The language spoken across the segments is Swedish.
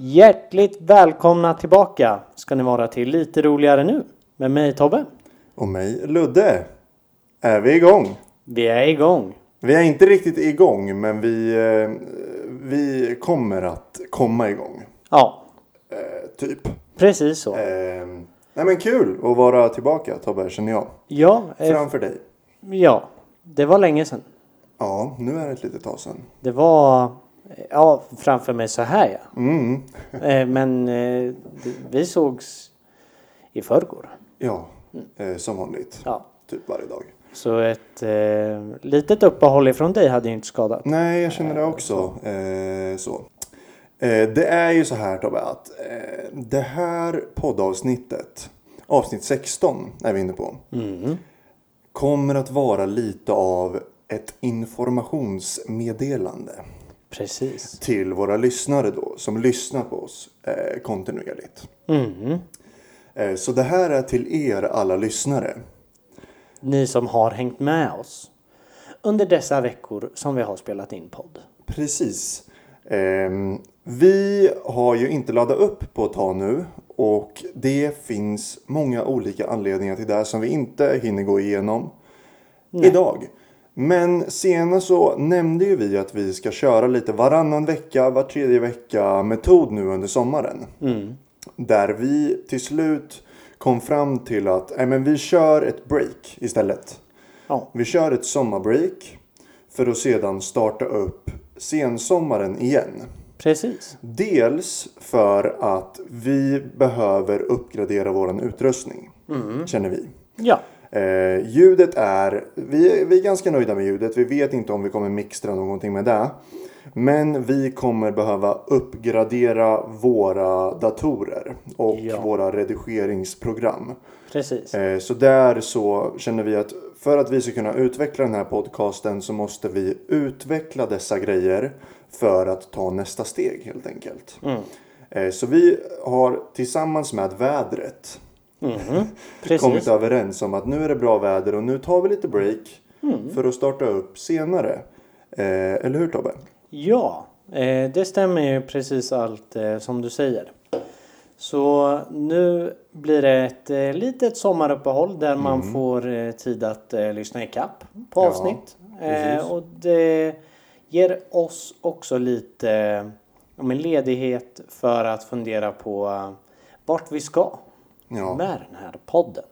Hjärtligt välkomna tillbaka ska ni vara till Lite roligare nu med mig Tobbe. Och mig, Ludde. Är vi igång? Vi är igång. Vi är inte riktigt igång, men vi, eh, vi kommer att komma igång. Ja, Eh, typ. precis så. Eh, nej men kul att vara tillbaka Tobbe, känner jag. Ja, eh, Framför dig. ja, det var länge sedan. Ja, nu är det ett litet tag sedan. Det var, eh, ja, framför mig så här ja. Mm. Eh, Men eh, vi sågs i förrgår. Ja, eh, som vanligt. Ja. Typ varje dag. Så ett eh, litet uppehåll ifrån dig hade ju inte skadat. Nej, jag känner det också. Eh, så. Eh, det är ju så här Tobbe att eh, det här poddavsnittet, avsnitt 16 är vi inne på. Kommer att vara lite av ett informationsmeddelande Precis. till våra lyssnare då som lyssnar på oss eh, kontinuerligt. Mm. Eh, så det här är till er alla lyssnare. Ni som har hängt med oss under dessa veckor som vi har spelat in podd. Precis. Ehm, vi har ju inte laddat upp på ett tag nu och det finns många olika anledningar till det här som vi inte hinner gå igenom idag. Men senast så nämnde ju vi att vi ska köra lite varannan vecka, var tredje vecka metod nu under sommaren. Där vi till slut kom fram till att nej, men vi kör ett break istället. Ja. Vi kör ett sommarbreak för att sedan starta upp sensommaren igen. Precis. Dels för att vi behöver uppgradera vår utrustning, känner vi. Ja. Eh, ljudet är, vi, vi är ganska nöjda med ljudet. Vi vet inte om vi kommer mixtra någonting med det. Men vi kommer behöva uppgradera våra datorer och Ja. våra redigeringsprogram. Precis. Eh, Så där så känner vi att för att vi ska kunna utveckla den här podcasten så måste vi utveckla dessa grejer för att ta nästa steg helt enkelt. Eh, Så vi har tillsammans med vädret kommit Precis. överens om att nu är det bra väder och nu tar vi lite break för att starta upp senare. Eh, Eller hur Tobbe? Ja, eh, det stämmer ju precis allt eh, som du säger. Så nu blir det ett eh, litet sommaruppehåll där man får eh, tid att eh, lyssna ikapp på Mm-hmm. Ja, avsnitt. precis. Eh, och det ger oss också lite eh, ja, men ledighet för att fundera på eh, vart vi ska Ja, med den här podden.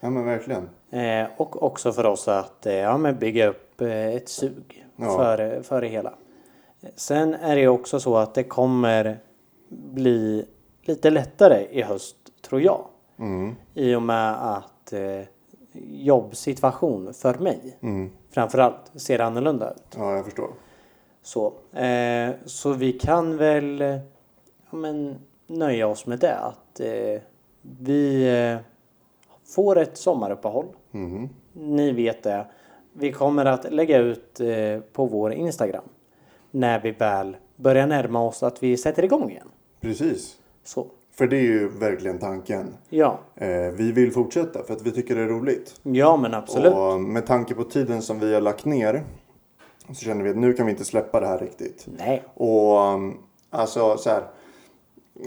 ja men verkligen. Eh, och också för oss att eh, ja, men bygga upp eh, ett sug Ja. för, för det hela. Sen är det ju också så att det kommer bli lite lättare i höst tror jag. Mm. I och med att eh, jobbsituation för mig Mm. framförallt ser annorlunda ut. Ja, jag förstår. Så, eh, så vi kan väl eh, ja, men, nöja oss med det. Att eh, vi eh, får ett sommaruppehåll. Mm. Ni vet det. Vi kommer att lägga ut eh, på vår Instagram. När vi väl börjar närma oss att vi sätter igång igen. Precis. Så, För det är ju verkligen tanken. ja. Eh, Vi vill fortsätta för att vi tycker det är roligt. Ja men absolut. Och eh, med tanke på tiden som vi har lagt ner så känner vi att nu kan vi inte släppa det här riktigt. Nej. Och um, alltså så här.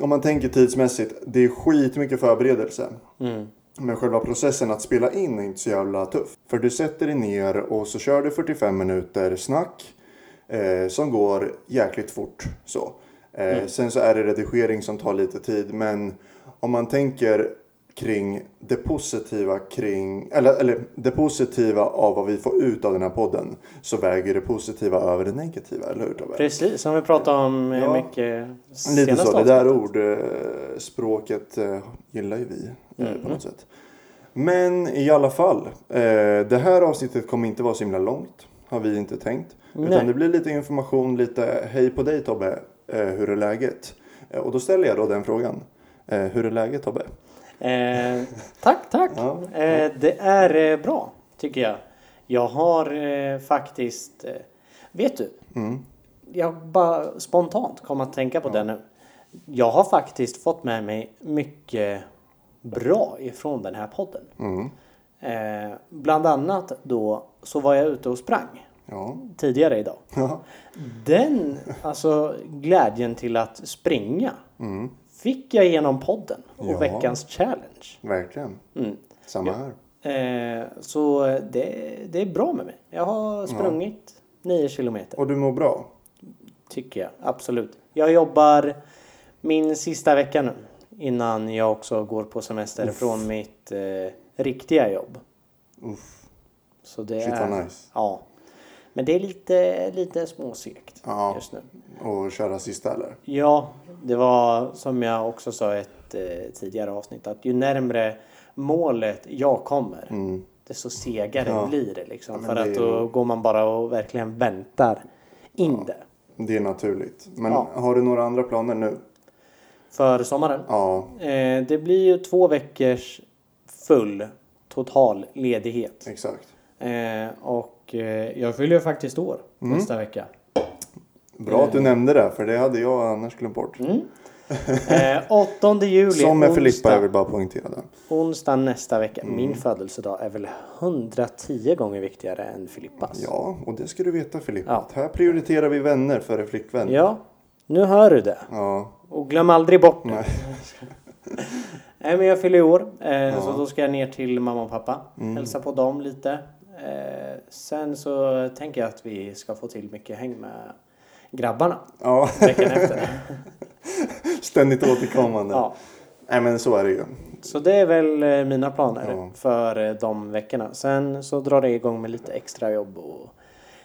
Om man tänker tidsmässigt, det är skitmycket förberedelse. Mm. Men själva processen att spela in är inte så jävla tuff. För du sätter dig ner och så kör du 45 minuter snack. Eh, som går jäkligt fort. Så. Eh, Sen så är det redigering som tar lite tid. Men om man tänker kring det positiva kring, eller, eller det positiva av vad vi får ut av den här podden. Så väger det positiva över det negativa, eller hur Tobbe? Precis som vi pratade om eh, Ja. mycket Lite senaste så, det där avsnittet. ordspråket eh, gillar ju vi eh, Mm-hmm. på något sätt. Men i alla fall, eh, det här avsnittet kommer inte vara så himla långt. Har vi inte tänkt. Nej. Utan det blir lite information, lite hej på dig Tobbe, eh, hur är läget? Eh, och då ställer jag då den frågan. Eh, hur är läget Tobbe? Eh, tack, tack. Ja. Eh, det är eh, bra, tycker jag. Jag har eh, faktiskt... Eh, vet du? Jag bara spontant kom att tänka på det nu. Jag har faktiskt fått med mig mycket bra ifrån den här podden. Eh, bland annat då så var jag ute och sprang Ja. tidigare idag. Ja. Den, alltså glädjen till att springa Mm. fick jag genom podden och Ja. veckans challenge. Verkligen. Mm. Samma här. Eh, så det, det är bra med mig. Jag har sprungit 9 kilometer Och du mår bra? tycker jag. Absolut. Jag jobbar min sista vecka nu innan jag också går på semester från mitt eh, riktiga jobb. Uff. Så det Shit, är, vad nice. Ja. Men det är lite, lite småsegt Ja. just nu. Och köra sista eller? Ja, det var som jag också sa i ett eh, tidigare avsnitt att ju närmre målet jag kommer desto segare Mm. Ja. blir det liksom. men För det att är då går man bara och verkligen väntar in det. Det är naturligt. Men Ja. har du några andra planer nu? För sommaren. Ja, Eh, det blir ju två veckors full total ledighet. exakt. Eh, och eh, jag fyller ju faktiskt år Mm. nästa vecka. Bra att du nämnde det, för det hade jag annars glömt bort. Eh, 8 juli, Mm. Som med Filippa, jag onsdag, vill bara poängtera det. onsdag nästa vecka. Mm. Min födelsedag är väl 110 gånger viktigare än Filippas. Ja, och det ska du veta Filippa. Alltså. Ja. att Här prioriterar vi vänner före flickvän. Ja, nu hör du det. ja. Och glöm aldrig bort det. Nej. men jag fyller i år. Eh, Så då ska jag ner till mamma och pappa. Mm. Hälsa på dem lite. Eh, sen så tänker jag att vi ska få till mycket häng med grabbarna. ja. Veckan efter. Ständigt återkommande. Ja. Nej men så är det ju. Så det är väl eh, mina planer Ja. för eh, de veckorna. Sen så drar det igång med lite extra jobb och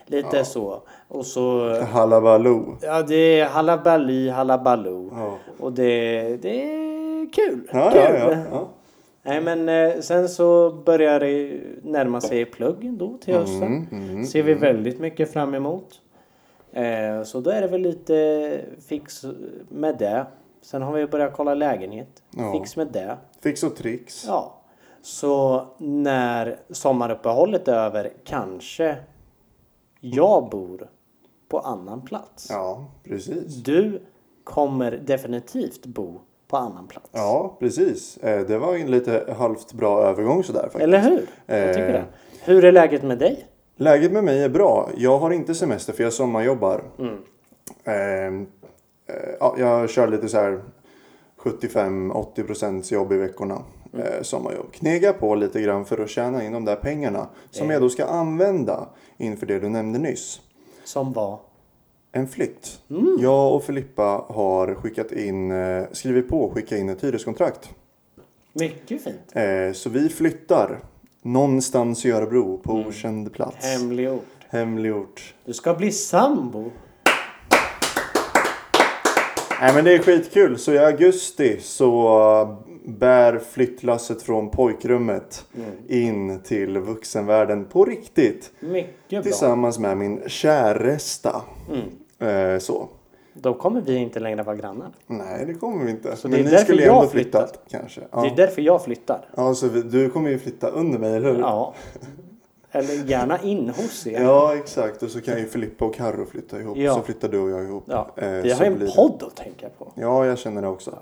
lite så. Och så... Hallabaloo. Ja, det är halabali, halabaloo. Ja. Och det, det är kul. Ja, kul. ja, ja, ja. Nej men eh, sen så börjar det närma sig plugg då till Mm, hösten. Ser vi väldigt mycket fram emot. Eh, så då är det väl lite fix med det. Sen har vi börjat kolla lägenhet. Ja. Fix med det. Fix och tricks. Ja. Så när sommaruppehållet är över kanske jag bor på annan plats. Ja, precis. Du kommer definitivt bo på annan plats. Ja, precis. Eh, Det var en lite halvt bra övergång sådär faktiskt. Eh, Eller hur? Jag tycker det. Hur är läget med dig? Läget med mig är bra. Jag har inte semester för jag sommarjobbar. Eh, eh, ja, jag kör lite så här 75-80% jobb i veckorna. Eh, sommarjobb. Knega på lite grann för att tjäna in de där pengarna. Som jag då ska använda inför det du nämnde nyss. Som var? En flytt. Jag och Filippa har skickat in, eh, skrivit på och skickat in ett hyreskontrakt. Mycket fint. Eh, så vi flyttar någonstans i Örebro på okänd plats. Hemlig ort. Hemlig ort. Du ska bli sambo. Nej men det är skitkul. Så i augusti så bär flyttlasset från pojkrummet in till vuxenvärlden på riktigt. Mycket bra. Tillsammans med min käresta. Mm. Eh, så. Då kommer vi inte längre vara grannar. Nej det kommer vi inte. det är därför jag flyttar. kanske. Det Ja. är därför jag flyttar. Ja, så vi, du kommer ju flytta under mig, eller hur? Ja. Eller gärna in hos er. Mm. Ja, exakt. Och så kan ju Filippa och Carro flytta ihop. Ja. Så flyttar du och jag ihop. Ja. Eh, Vi så har ju blir en det. podd att tänka på. Ja, jag känner det också.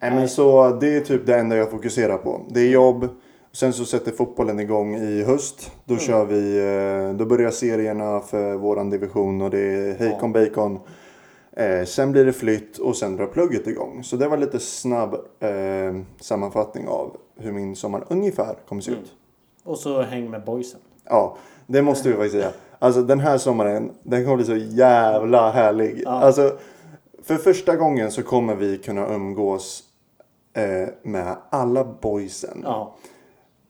Nej, men så det är typ det enda jag fokuserar på. Det är jobb. Sen så sätter fotbollen igång i höst. Då kör vi, eh, då börjar serierna för våran division och det är hejkon bacon. Eh, sen blir det flytt och sen drar plugget igång. Så det var lite snabb eh, sammanfattning av hur min sommar ungefär kommer se ut. Och så häng med boysen. Ja, det måste vi faktiskt säga. Alltså den här sommaren, den kommer bli så jävla härlig. Alltså, för första gången så kommer vi kunna umgås eh, med alla boysen. Ja. Mm.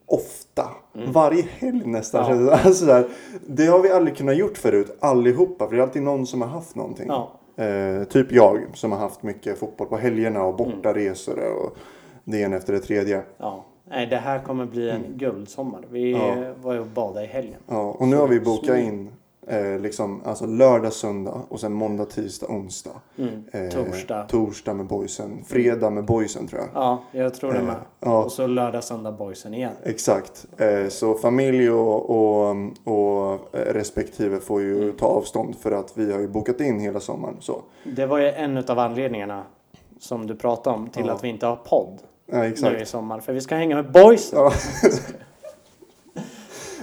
Ofta. Varje helg nästan. Ja. känns det. Alltså, så här, det har vi aldrig kunnat gjort förut, allihopa. För det är alltid någon som har haft någonting. Ja. Eh, typ jag som har haft mycket fotboll på helgerna och Mm. bortaresor och det ena efter det tredje. ja. Nej, det här kommer bli en Mm. guldsommar. Vi eh, var ju och badade i helgen. Ja, och nu har vi bokat in eh, liksom, alltså lördag, söndag och sen måndag, tisdag, onsdag. Eh, Mm. Torsdag. Torsdag med boysen. Fredag med boysen tror jag. Ja, jag tror det med. Eh, ja. Och så lördag, söndag boysen igen. Exakt. Eh, så familj och, och, och eh, respektive får ju Mm. ta avstånd för att vi har ju bokat in hela sommaren. Så. Det var ju en av anledningarna som du pratade om till att vi inte har podd Ja, nu exakt. i sommar. För vi ska hänga med boys. Ja.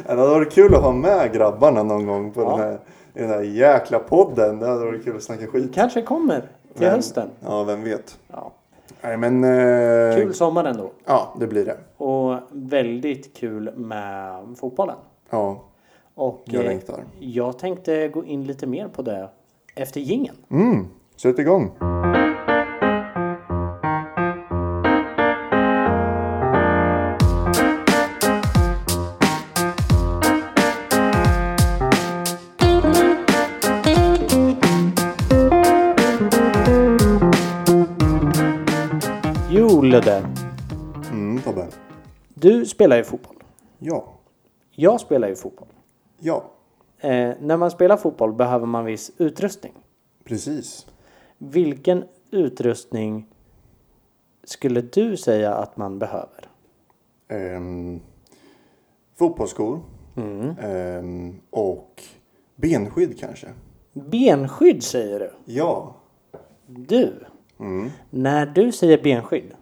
Det hade varit kul att ha med grabbarna någon gång på Ja. den här, i den här jäkla podden. Det hade varit kul att snacka skit. Kanske kommer till Men- hösten. Ja, vem vet. Ja. Nej men... Eh, Kul sommar ändå. Ja, det blir det. Och väldigt kul med fotbollen. Ja, Och jag eh, längtar. jag tänkte gå in lite mer på det efter gingen. Mm, sätt igång. Jo Ludde, Mm, Tobbe. du spelar ju fotboll. Ja. Jag spelar ju fotboll. Ja, Eh, när man spelar fotboll behöver man viss utrustning. precis. Vilken utrustning skulle du säga att man behöver? Ehm, fotbollsskor. Ehm, och benskydd kanske. Benskydd säger du. Ja. Du. Mm, När du säger benskydd.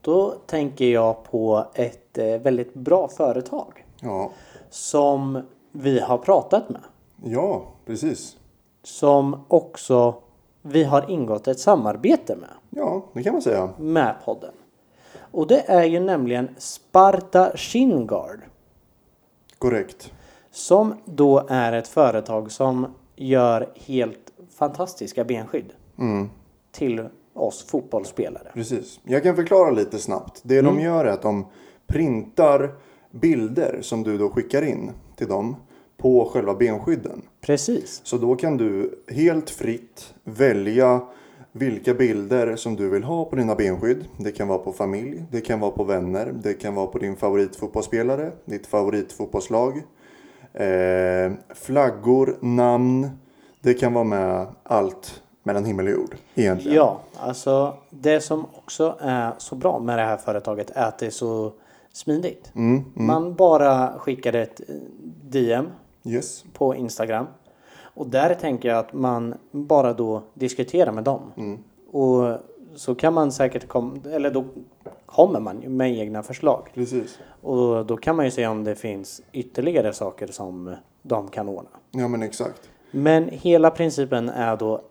Då tänker jag på ett eh, väldigt bra företag. Ja. Som vi har pratat med. Ja, precis. Som också vi har ingått ett samarbete med. Ja, det kan man säga. Med podden. Och det är ju nämligen Sparta Shin Guard. Korrekt. Som då är ett företag som gör helt fantastiska benskydd. Till oss fotbollsspelare. Precis. Jag kan förklara lite snabbt. Det de gör är att de printar bilder som du då skickar in till dem på själva benskydden. Precis. Så då kan du helt fritt välja vilka bilder som du vill ha på dina benskydd. Det kan vara på familj, det kan vara på vänner, det kan vara på din favoritfotbollsspelare, ditt favoritfotbollslag. Eh, flaggor, namn. Det kan vara med allt mellan himmel och jord egentligen. Ja, alltså det som också är så bra med det här företaget är att det är så smidigt. Mm. Man bara skickar ett eh, DM Yes. på Instagram. Och där tänker jag att man bara då diskuterar med dem. Och så kan man säkert kom, eller då kommer man ju med egna förslag. Precis. Och då kan man ju se om det finns ytterligare saker som de kan ordna. Ja men exakt. Men hela principen är då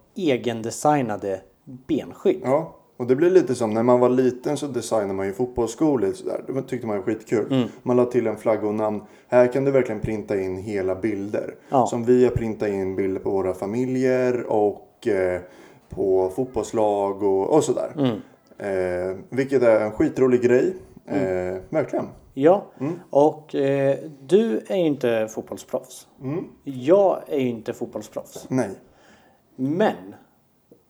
egendesignade benskydd. Ja, och det blir lite som när man var liten så designade man ju fotbollsskor lite sådär. Det tyckte man var skitkul. Man la till en flagga och namn. Här kan du verkligen printa in hela bilder. Ja. Som vi har printat in bilder på våra familjer och eh, på fotbollslag och, och sådär. Eh, vilket är en skitrolig grej. Eh, verkligen. Ja, Mm. och eh, du är ju inte fotbollsproffs. Mm. Jag är ju inte fotbollsproffs. Nej. Men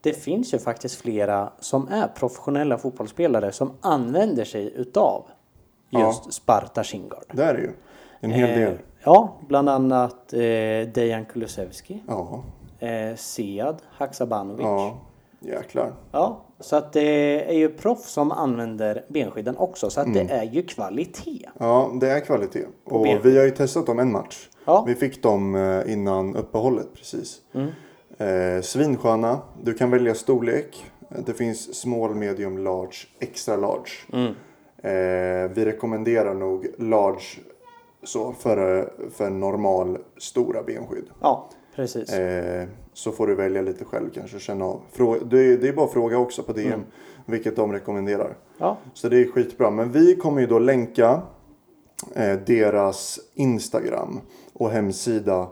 det finns ju faktiskt flera som är professionella fotbollsspelare som använder sig utav just Sparta Shingard. Det är det ju. En Eh. hel del. ja, bland annat eh, Dejan Kulusevski, Ja. eh, Sead Haksabanovic. Ja. Jäklar. Ja, så att det är ju proffs som använder benskydden också. Så att Mm. det är ju kvalitet. Ja, det är kvalitet. Och ben. vi har ju testat dem en match. Ja. Mm. Vi fick dem eh, innan uppehållet precis. Eh, Svinsköna. Du kan välja storlek. Det finns small, medium, large, extra large. Mm. Eh, vi rekommenderar nog large så för, för normal stora benskydd. Ja, precis. Eh, så får du välja lite själv kanske. Känna av. Frå- det, är, det är bara att fråga också på Mm. DM vilket de rekommenderar. Ja, Så det är skitbra. Men vi kommer ju då länka eh, deras Instagram och hemsida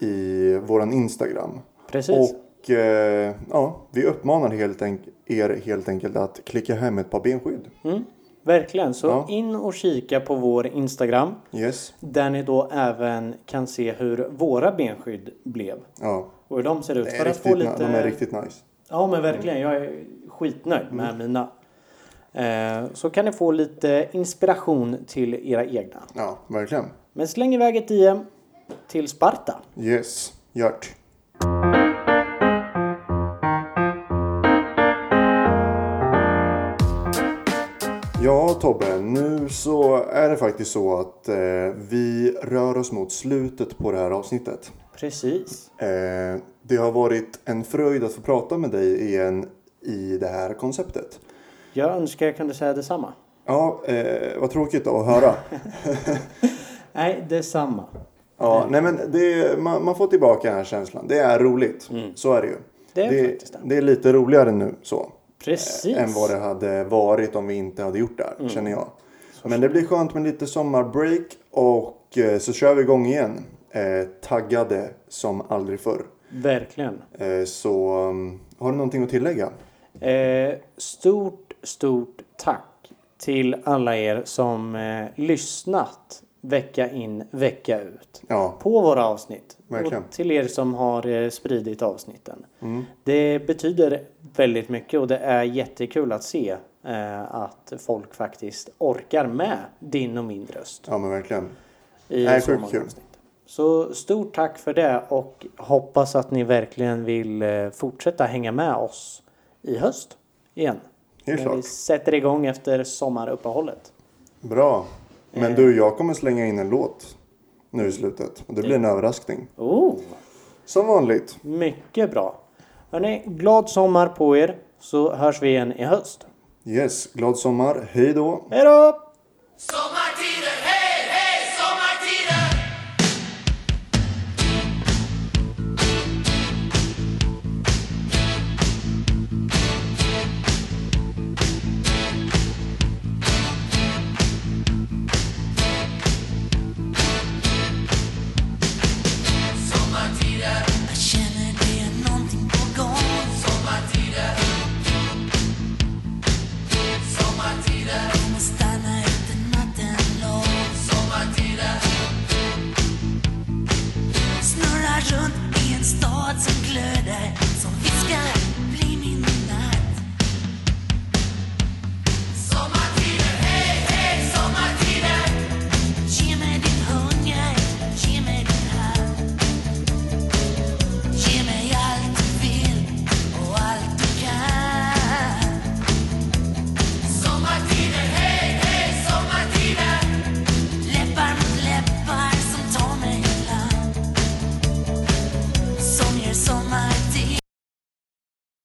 i våran Instagram. precis. Och eh, ja, vi uppmanar helt enk- er helt enkelt att klicka hem ett par benskydd. Mm, verkligen. Så Ja. in och kika på vår Instagram. Yes. Där ni då även kan se hur våra benskydd blev. Ja. Och hur de ser ut. Det För är att få riktigt, lite... De är riktigt Mm. nice. Ja men verkligen. Jag är skitnöjd med mina. Eh, så kan ni få lite inspiration till era egna. Ja, verkligen. Men släng iväg ett DM till Sparta. Yes. Gjort. Ja Tobbe, nu så är det faktiskt så att eh, vi rör oss mot slutet på det här avsnittet. Precis. Eh, det har varit en fröjd att få prata med dig igen i det här konceptet. Jag önskar jag kunde säga detsamma. Ja, eh, vad tråkigt att höra. Nej, detsamma. Ja, nej men det, man, man får tillbaka den här känslan. Det är roligt. Mm. Så är det ju. Det är faktiskt det. det är lite roligare nu så. Precis. Än vad det hade varit om vi inte hade gjort det här, känner jag. Men det blir skönt med lite sommarbreak och eh, så kör vi igång igen. Eh, taggade som aldrig förr. Verkligen. Eh, så um, har du någonting att tillägga? Eh, stort, stort tack till alla er som eh, lyssnat vecka in, vecka ut. Ja, på våra avsnitt. Verkligen. Och till er som har eh, spridit avsnitten. Mm. Det betyder väldigt mycket och det är jättekul att se eh, att folk faktiskt orkar med din och min röst. ja men verkligen. I Nej, så sjukt många kul. avsnitt. Så stort tack för det och hoppas att ni verkligen vill eh, fortsätta hänga med oss i höst igen. Helt När vi klart. sätter igång efter sommaruppehållet. Bra. Men du, jag kommer slänga in en låt nu i slutet. Och det blir en överraskning. Oh. Som vanligt. Mycket bra. Hörrni, glad sommar på er så hörs vi igen i höst. Yes, glad sommar. Hej då. Hej då! Sommar,